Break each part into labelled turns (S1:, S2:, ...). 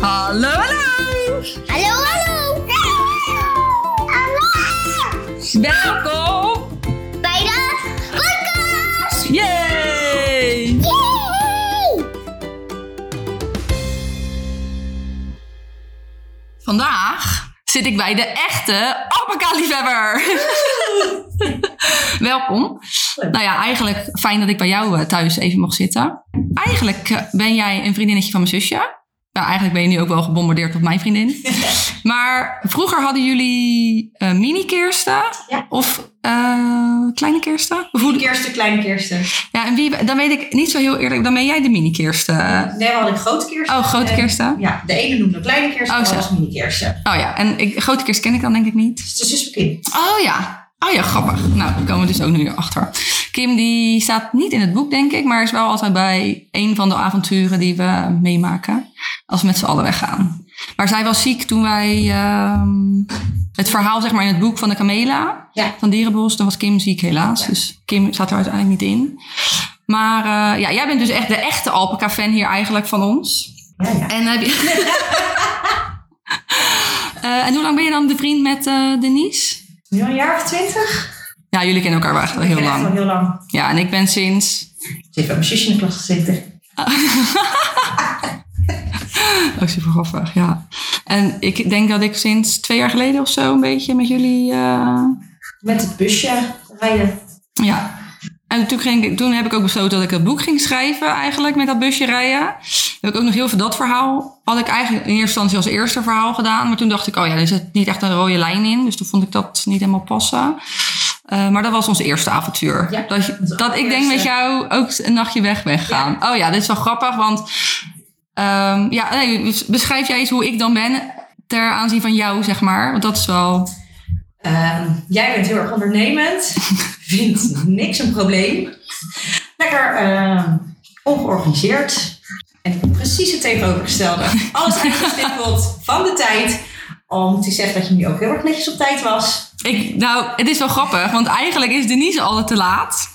S1: Hallo, hallo!
S2: Hallo, hallo! Hallo!
S1: Welkom!
S2: Bij de podcast!
S1: Yay!
S2: Yay!
S1: Vandaag zit ik bij de echte Appakaliefhebber. Welkom. Nou ja, eigenlijk fijn dat ik bij jou eh, thuis even mocht zitten. Eigenlijk eh, ben jij een vriendinnetje van mijn zusje. Nou, eigenlijk ben je nu ook wel gebombardeerd op mijn vriendin. Maar vroeger hadden jullie eh, mini-kersten
S3: Ja.
S1: of eh, kleine kersten? Of hoe-
S3: Kersten, kleine kersten.
S1: Ja, en wie, dan weet ik niet zo heel eerlijk, dan ben jij de mini-kersten.
S3: Nee, we hadden grote kersten.
S1: Oh, grote
S3: En-
S1: kersten?
S3: Ja, de ene noemde kleine kersten,
S1: Oh,
S3: de
S1: zo.
S3: andere mini kersten.
S1: Oh ja, en ik, grote kerst ken ik dan denk ik niet.
S3: Dus de zus van Kim.
S1: Oh ja. Oh ja, grappig. Nou, daar komen we dus ook nu achter. Kim die staat niet in het boek, denk ik, maar is wel altijd bij een van de avonturen die we meemaken. Als we met z'n allen weggaan. Maar zij was ziek toen wij ehm, het verhaal zeg maar, in het boek van de Camela
S3: Ja.
S1: van Dierenbos. Toen was Kim ziek helaas, dus Kim staat er uiteindelijk niet in. Maar eh, ja, jij bent dus echt de echte Alpaca-fan hier eigenlijk van ons.
S3: Ja, ja.
S1: En, heb je... Eh, en hoe lang ben je dan de vriend met eh, Denise?
S3: Nu een jaar of twintig?
S1: Ja, jullie kennen elkaar wel echt al heel
S3: Al
S1: lang.
S3: heel lang.
S1: Ja, en ik ben sinds...
S3: Ze heeft bij mijn zusje in de klas gezeten.
S1: Ook Oh, super grappig, ja. En ik denk dat ik sinds twee jaar geleden of zo een beetje met jullie... eh,
S3: Met het busje rijden.
S1: ja. En toen, ging, ik- toen heb ik ook besloten dat ik dat boek ging schrijven eigenlijk, met dat busje rijden. Heb ik ook nog heel veel dat verhaal. Had ik eigenlijk in eerste instantie als eerste verhaal gedaan. Maar toen dacht ik, oh ja, er zit niet echt een rode lijn in. Dus toen vond ik dat niet helemaal passen. Eh, maar dat was ons eerste avontuur.
S3: Ja,
S1: dat je-
S3: dat is
S1: dat ik denk met
S3: allereerste.
S1: jou ook een nachtje weg ben gegaan. Oh ja, dit is wel grappig, want... ehm, ja, nee, dus beschrijf jij eens hoe ik dan ben ter aanzien van jou, zeg maar. Want dat is wel...
S3: Ehm, jij bent heel erg ondernemend. Vindt niks een probleem. Lekker ehm, ongeorganiseerd. En ik ben precies het tegenovergestelde. Alles uitgestippeld van de tijd. Om te zeggen dat je nu ook heel erg netjes op tijd was.
S1: Ik, nou, het is wel grappig, want eigenlijk is Denise altijd te laat.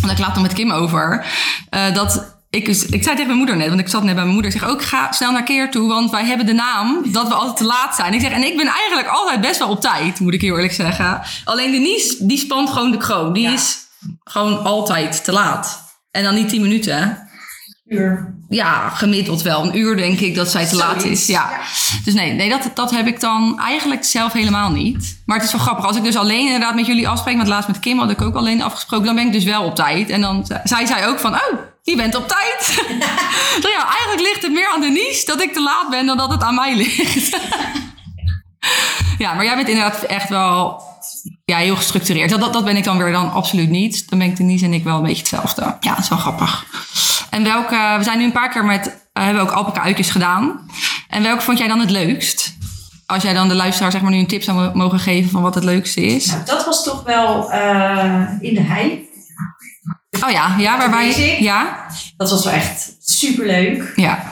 S1: Want ik laat dan met Kim over. eh, dat ik, ik zei tegen mijn moeder net, want ik zat net bij mijn moeder. Ik zeg ook, ga snel naar Keer toe, want wij hebben de naam dat we altijd te laat zijn. Ik zeg, en ik ben eigenlijk altijd best wel op tijd, moet ik heel eerlijk zeggen. Alleen Denise, die spant gewoon de kroon. Die
S3: Ja.
S1: is gewoon altijd te laat. En dan niet 10 minuten, hè?
S3: Uur.
S1: ja, gemiddeld wel een uur denk ik dat zij te laat
S3: Zoiets,
S1: is. Ja. Dus nee, nee dat, dat heb ik dan eigenlijk zelf helemaal niet. Maar het is wel grappig. Als ik dus alleen inderdaad met jullie afspreek, want laatst met Kim had ik ook alleen afgesproken, dan ben ik dus wel op tijd. En dan ze- zei zij ook van, oh, je bent op tijd. nou ja, eigenlijk ligt het meer aan Denise dat ik te laat ben dan dat het aan mij ligt. ja, maar jij bent inderdaad echt wel ja, heel gestructureerd. Dat, dat, dat ben ik dan weer dan absoluut niet. Dan ben ik Denise en ik wel een beetje hetzelfde. Ja, dat is wel grappig. En welke, we zijn nu een paar keer met, eh, hebben we ook alpaca uitjes gedaan. En welke vond jij dan het leukst? Als jij dan de luisteraar zeg maar nu een tip zou mo- mogen geven van wat het leukste is.
S3: Nou, dat was toch wel eh, in de hei.
S1: Oh ja, ja, waarbij,
S3: Music.
S1: ja,
S3: Dat was wel echt superleuk.
S1: ja,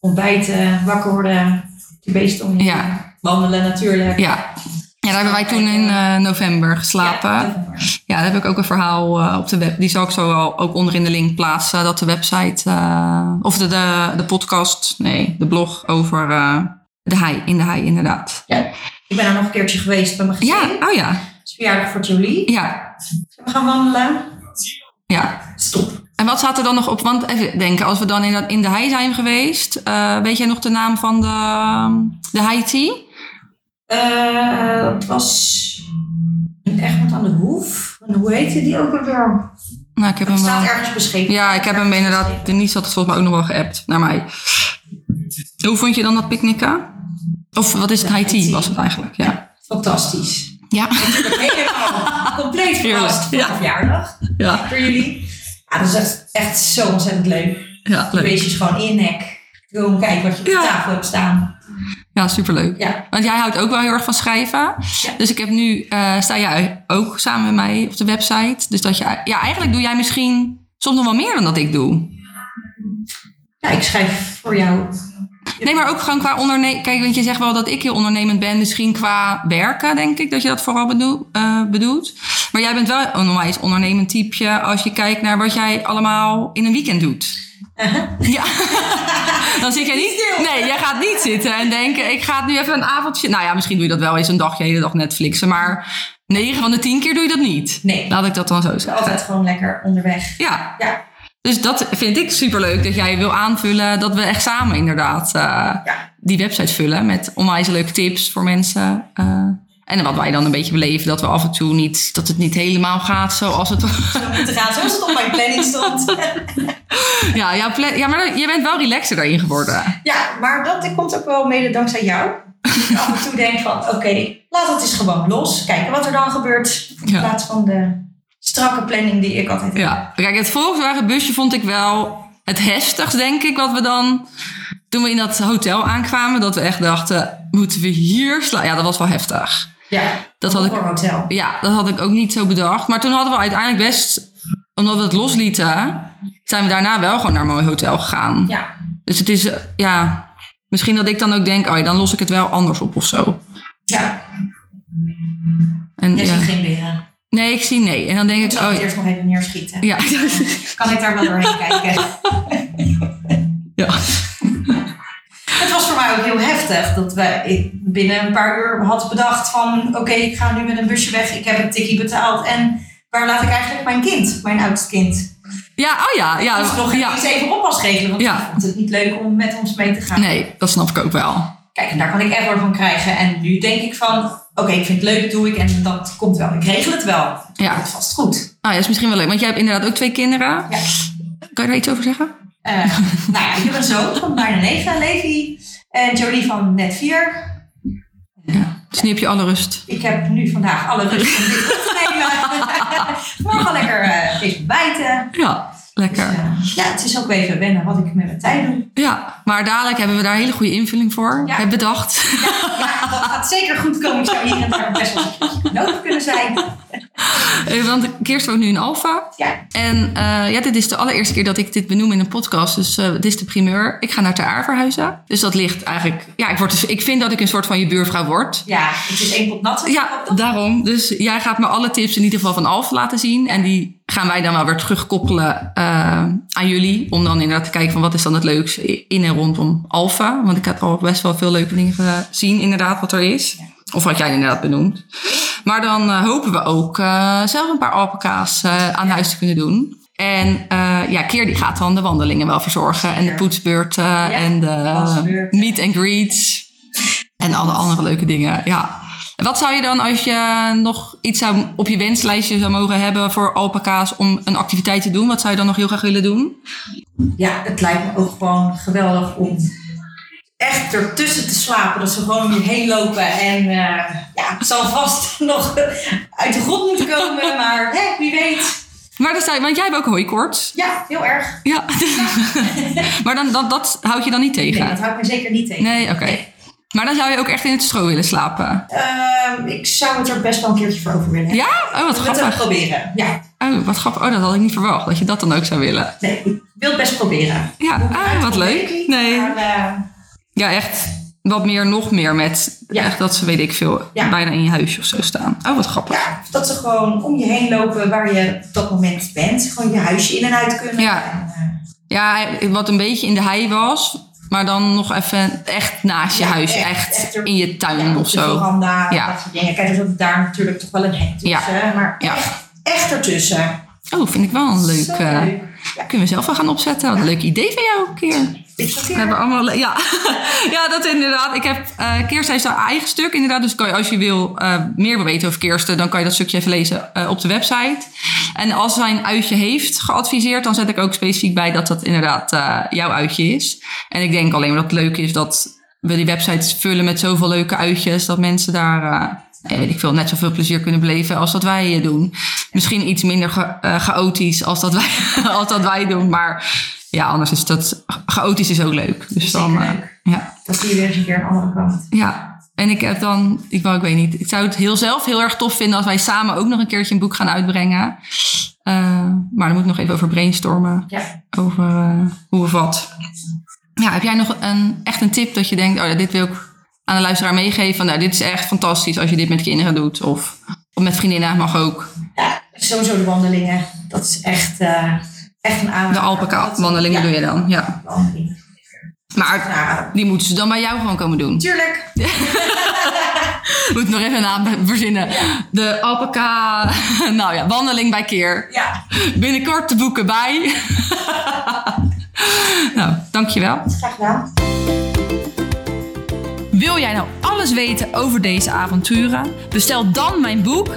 S3: Ontbijten, wakker worden, de beesten om je
S1: Ja.
S3: heen, wandelen natuurlijk.
S1: ja. Ja, daar hebben wij toen in eh, november geslapen.
S3: Ja,
S1: Ja,
S3: dat was-
S1: daar heb ik ook een verhaal eh, op de web. Die zal ik zo wel ook onder in de link plaatsen. Dat de website, eh, of de, de, de podcast, nee, de blog over eh, de hei, in de hei inderdaad.
S3: ja. Ik ben er nog een keertje geweest bij mijn gezin.
S1: Ja, oh ja,
S3: Het is verjaardag voor Jolie.
S1: ja,
S3: We gaan wandelen.
S1: ja.
S3: Stop.
S1: En wat staat er dan nog op? Want even denken, als we dan in, dat, in de hei zijn geweest, eh, weet jij nog de naam van de, de hei tea?
S3: Eh, dat was een Egmond aan de Hoef. En hoe heette die ook alweer?
S1: Nou, ik heb
S3: Het
S1: hem
S3: staat
S1: wel.
S3: ergens beschreven.
S1: Ja, ik heb hem inderdaad. Denise had het volgens mij ook nog wel geappt naar mij. Hoe vond je dan dat picknicken? Of wat is het
S3: Ja,
S1: hei
S3: high
S1: tea
S3: tea.
S1: was het eigenlijk? Ja.
S3: Fantastisch.
S1: Ja.
S3: Helemaal compleet verrast voor
S1: Ja.
S3: mijn verjaardag.
S1: Ja.
S3: Voor jullie. Ja, dat is echt, echt zo ontzettend leuk.
S1: Ja,
S3: Die
S1: leuk.
S3: beestjes gewoon in nek. Gewoon kijken wat je op
S1: Ja.
S3: tafel hebt staan.
S1: Ja, superleuk.
S3: Ja.
S1: Want jij houdt ook wel heel erg van schrijven.
S3: Ja.
S1: Dus ik heb nu, eh, sta jij ook samen met mij op de website. Dus dat je, ja, eigenlijk doe jij misschien soms nog wel meer dan dat ik doe.
S3: ja, ik schrijf voor jou.
S1: Nee, maar ook gewoon qua ondernemen. Kijk, want je zegt wel dat ik heel ondernemend ben. Misschien qua werken, denk ik, dat je dat vooral bedoel- eh, bedoelt. Maar jij bent wel een onwijs ondernemend type als je kijkt naar wat jij allemaal in een weekend doet. Ja. Dan zit jij niet.
S3: Uh-huh. stil.
S1: Nee, jij gaat niet zitten en denken: ik ga nu even een avondje. Nou ja, misschien doe je dat wel eens een dagje, de hele dag Netflixen. Maar 9 van de 10 keer doe je dat niet.
S3: Nee.
S1: Laat ik dat dan zo zeggen.
S3: Altijd gewoon lekker onderweg.
S1: Ja.
S3: Ja,
S1: Dus dat vind ik superleuk dat jij wil aanvullen. Dat we echt samen inderdaad eh,
S3: ja.
S1: die website vullen met onwijs leuke tips voor mensen. eh. en wat wij dan een beetje beleven, dat we af en toe niet, dat het niet helemaal gaat zoals het.
S3: Het gaat zoals het op mijn planning stond.
S1: ja, ja, pla- ja, maar je bent wel relaxer daarin geworden.
S3: Ja, maar dat komt ook wel mede dankzij jou. Dat ik af en toe denk van, oké, laat het eens gewoon los. Kijken wat er dan gebeurt. In
S1: Ja.
S3: plaats van de strakke planning die ik altijd heb.
S1: Ja. Kijk, het Volkswagen busje vond ik wel het heftigst, denk ik, wat we dan. Toen we in dat hotel aankwamen, dat we echt dachten, moeten we hier slaan? Ja, dat was wel heftig.
S3: Ja,
S1: Dat had ik
S3: voor hotel.
S1: Ja, dat had ik ook niet zo bedacht. Maar toen hadden we uiteindelijk best, omdat we het loslieten, zijn we daarna wel gewoon naar een mooi hotel gegaan.
S3: Ja,
S1: Dus het is, eh, ja, misschien dat ik dan ook denk, oh ja, dan los ik het wel anders op of zo.
S3: ja.
S1: En,
S3: jij
S1: ja.
S3: ziet geen beren.
S1: Nee, ik zie nee. En dan denk
S3: Ik
S1: ik,
S3: zal
S1: oh
S3: het
S1: ja.
S3: eerst nog even neerschieten.
S1: Ja,
S3: Kan ik daar wel doorheen kijken?
S1: ja.
S3: Het was voor mij ook heel heftig dat we ik binnen een paar uur had bedacht van... Oké, ik ga nu met een busje weg. Ik heb een tikkie betaald. En waar laat ik eigenlijk mijn kind, mijn oudste kind?
S1: ja oh ja. ja,
S3: Dus nog
S1: ja.
S3: eens even oppas regelen, want
S1: Ja.
S3: ik vond het niet leuk om met ons mee te gaan.
S1: Nee, dat snap ik ook wel. Ah,
S3: Kijk, en daar kan ik error van krijgen. En nu denk ik van, oké, ik vind het leuk, doe ik en dat komt wel. Ik regel het wel. Dat
S1: Ja.
S3: komt vast goed.
S1: Nou ja, is misschien wel leuk, want jij hebt inderdaad ook twee kinderen.
S3: Ja.
S1: Kan je daar iets over zeggen?
S3: Eh, nou ja, ik heb een zoon van bijna negen, Levi. En Jolie van net vier.
S1: Ja. Dus nu heb je alle rust.
S3: Ik heb nu vandaag alle rust om dit op te nemen. maar gewoon lekker eh, even bijten.
S1: Ja,
S3: Dus,
S1: lekker.
S3: eh, ja, het is ook even wennen wat ik met mijn tijd doe.
S1: Ja, maar dadelijk hebben we daar een hele goede invulling voor.
S3: Ja.
S1: Heb bedacht.
S3: Ja, dat gaat zeker goed komen. Ik zou hier en daar best wel eens een keertje nodig kunnen zijn.
S1: Eh, Want Kirst woont nu in Alfa.
S3: Ja,
S1: En eh, ja, dit is de allereerste keer dat ik dit benoem in een podcast. Dus eh, dit is de primeur. Ik ga naar Ter Aar verhuizen. Dus dat ligt eigenlijk... Ja, ik, word dus, ik vind dat ik een soort van je buurvrouw word.
S3: ja het is één pot nat.
S1: Ja, daarom. Dus jij gaat me alle tips in ieder geval van Alfa laten zien. En die gaan wij dan wel weer terugkoppelen eh, aan jullie. Om dan inderdaad te kijken van wat is dan het leukste in en rondom Alfa. Want ik heb al best wel veel leuke dingen gezien inderdaad wat er is. Of wat jij inderdaad benoemt. Maar dan eh, hopen we ook eh, zelf een paar alpaca's eh, aan huis te kunnen doen. En eh, ja, Keer die gaat dan de wandelingen wel verzorgen. En de poetsbeurten en de
S3: wasbeurten.
S1: Ehm, meet and greets. En alle andere leuke dingen, ja. En Wat zou je dan als je nog iets zou, op je wenslijstje zou mogen hebben voor alpaca's om een activiteit te doen? Wat zou je dan nog heel graag willen doen?
S3: Ja, het lijkt me ook gewoon geweldig om echt ertussen te slapen. Dat ze gewoon om je heen lopen. En eh, ja, het zal vast nog uit de grond moeten komen. Maar hè, wie weet.
S1: Maar dat zou, want jij hebt ook hooikoorts.
S3: Ja, heel erg.
S1: Ja. maar dan, dat, dat houd je dan niet
S3: Nee, dat
S1: tegen?
S3: houdt mij zeker niet tegen.
S1: Nee, oké. Maar dan zou je ook echt in het stro willen slapen?
S3: Ehm, ik zou het er best wel een keertje voor over willen.
S1: Ja? Oh, wat
S3: Ik wil het
S1: grappig.
S3: even proberen. Ja,
S1: Oh, wat grappig. Oh, dat had ik niet verwacht. Dat je dat dan ook zou willen.
S3: nee, ik wil het best proberen.
S1: Ja,
S3: Hoe ik
S1: ah,
S3: eruit
S1: wat
S3: kom,
S1: leuk.
S3: weet ik niet,
S1: Nee.
S3: maar, eh,
S1: Ja, echt wat meer, nog meer met
S3: Ja.
S1: echt dat ze, weet ik veel,
S3: Ja.
S1: bijna in je huisje of zo staan. Oh, wat grappig.
S3: ja, dat ze gewoon om je heen lopen waar je op dat moment bent. Gewoon je huisje in en uit kunnen.
S1: Ja.
S3: En, eh,
S1: Ja, wat een beetje in de hei was, maar dan nog even echt naast je
S3: Ja,
S1: huis,
S3: echt,
S1: echt,
S3: echt er-
S1: in je tuin
S3: op
S1: of
S3: de
S1: zo.
S3: veranda,
S1: Ja.
S3: dat soort dingen. Kijk, er zit daar natuurlijk toch wel een hek tussen. Maar
S1: Ja.
S3: echt, echt ertussen.
S1: Oh, vind ik wel een leuk.
S3: Zo
S1: eh,
S3: leuk. Ja,
S1: kunnen we zelf wel gaan opzetten? Wat een leuk idee van jou, Keer.
S3: ik
S1: We
S3: verkeer.
S1: hebben allemaal. le- Ja, ja dat inderdaad. Ik heb. eh Kirsten heeft haar eigen stuk, inderdaad. Dus kan je, als je wil, eh, meer wil weten over Kirsten, dan kan je dat stukje even lezen eh, op de website. En als zij een uitje heeft geadviseerd, dan zet ik ook specifiek bij dat dat inderdaad eh, jouw uitje is. En ik denk alleen maar dat het leuk is dat we die websites vullen met zoveel leuke uitjes, dat mensen daar. eh, ja, weet ik veel, net zoveel plezier kunnen beleven als dat wij eh, doen. Misschien iets minder cha- eh, chaotisch als dat, wij, als dat wij doen. Maar ja, anders is dat... Chaotisch is ook leuk. Dus dan...
S3: Zeker
S1: eh,
S3: leuk.
S1: ja.
S3: Dat zie je weer eens een keer aan de andere kant.
S1: ja. En ik heb dan... Ik, wou, ik weet niet. Ik zou het heel zelf heel erg tof vinden... als wij samen ook nog een keertje een boek gaan uitbrengen. Eh, maar daar moet ik nog even over brainstormen.
S3: Ja.
S1: Over eh, hoe of wat. Ja, heb jij nog een, echt een tip dat je denkt... Oh, ja, dit wil ik aan de luisteraar meegeven. Van, nou, dit is echt fantastisch als je dit met kinderen doet. Of, of met vriendinnen mag ook.
S3: ja, sowieso de wandelingen. Dat is echt... eh, Echt een aanrader.
S1: De Alpaca-wandelingen
S3: Ja,
S1: doe je dan, ja.
S3: de Alpaca.
S1: Maar
S3: Nou,
S1: die moeten ze dan bij jou gewoon komen doen.
S3: tuurlijk.
S1: Moet nog even een naam verzinnen. De Alpaca, nou ja, wandeling bij Keer.
S3: Ja,
S1: Binnenkort te boeken bij. nou, dankjewel.
S3: graag gedaan.
S1: Wil jij nou alles weten over deze avonturen? Bestel dan mijn boek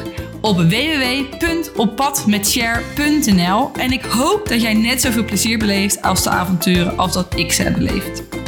S1: op www.oppadmetshare.nl en ik hoop dat jij net zoveel plezier beleeft als de avonturen als dat ik ze heb beleefd.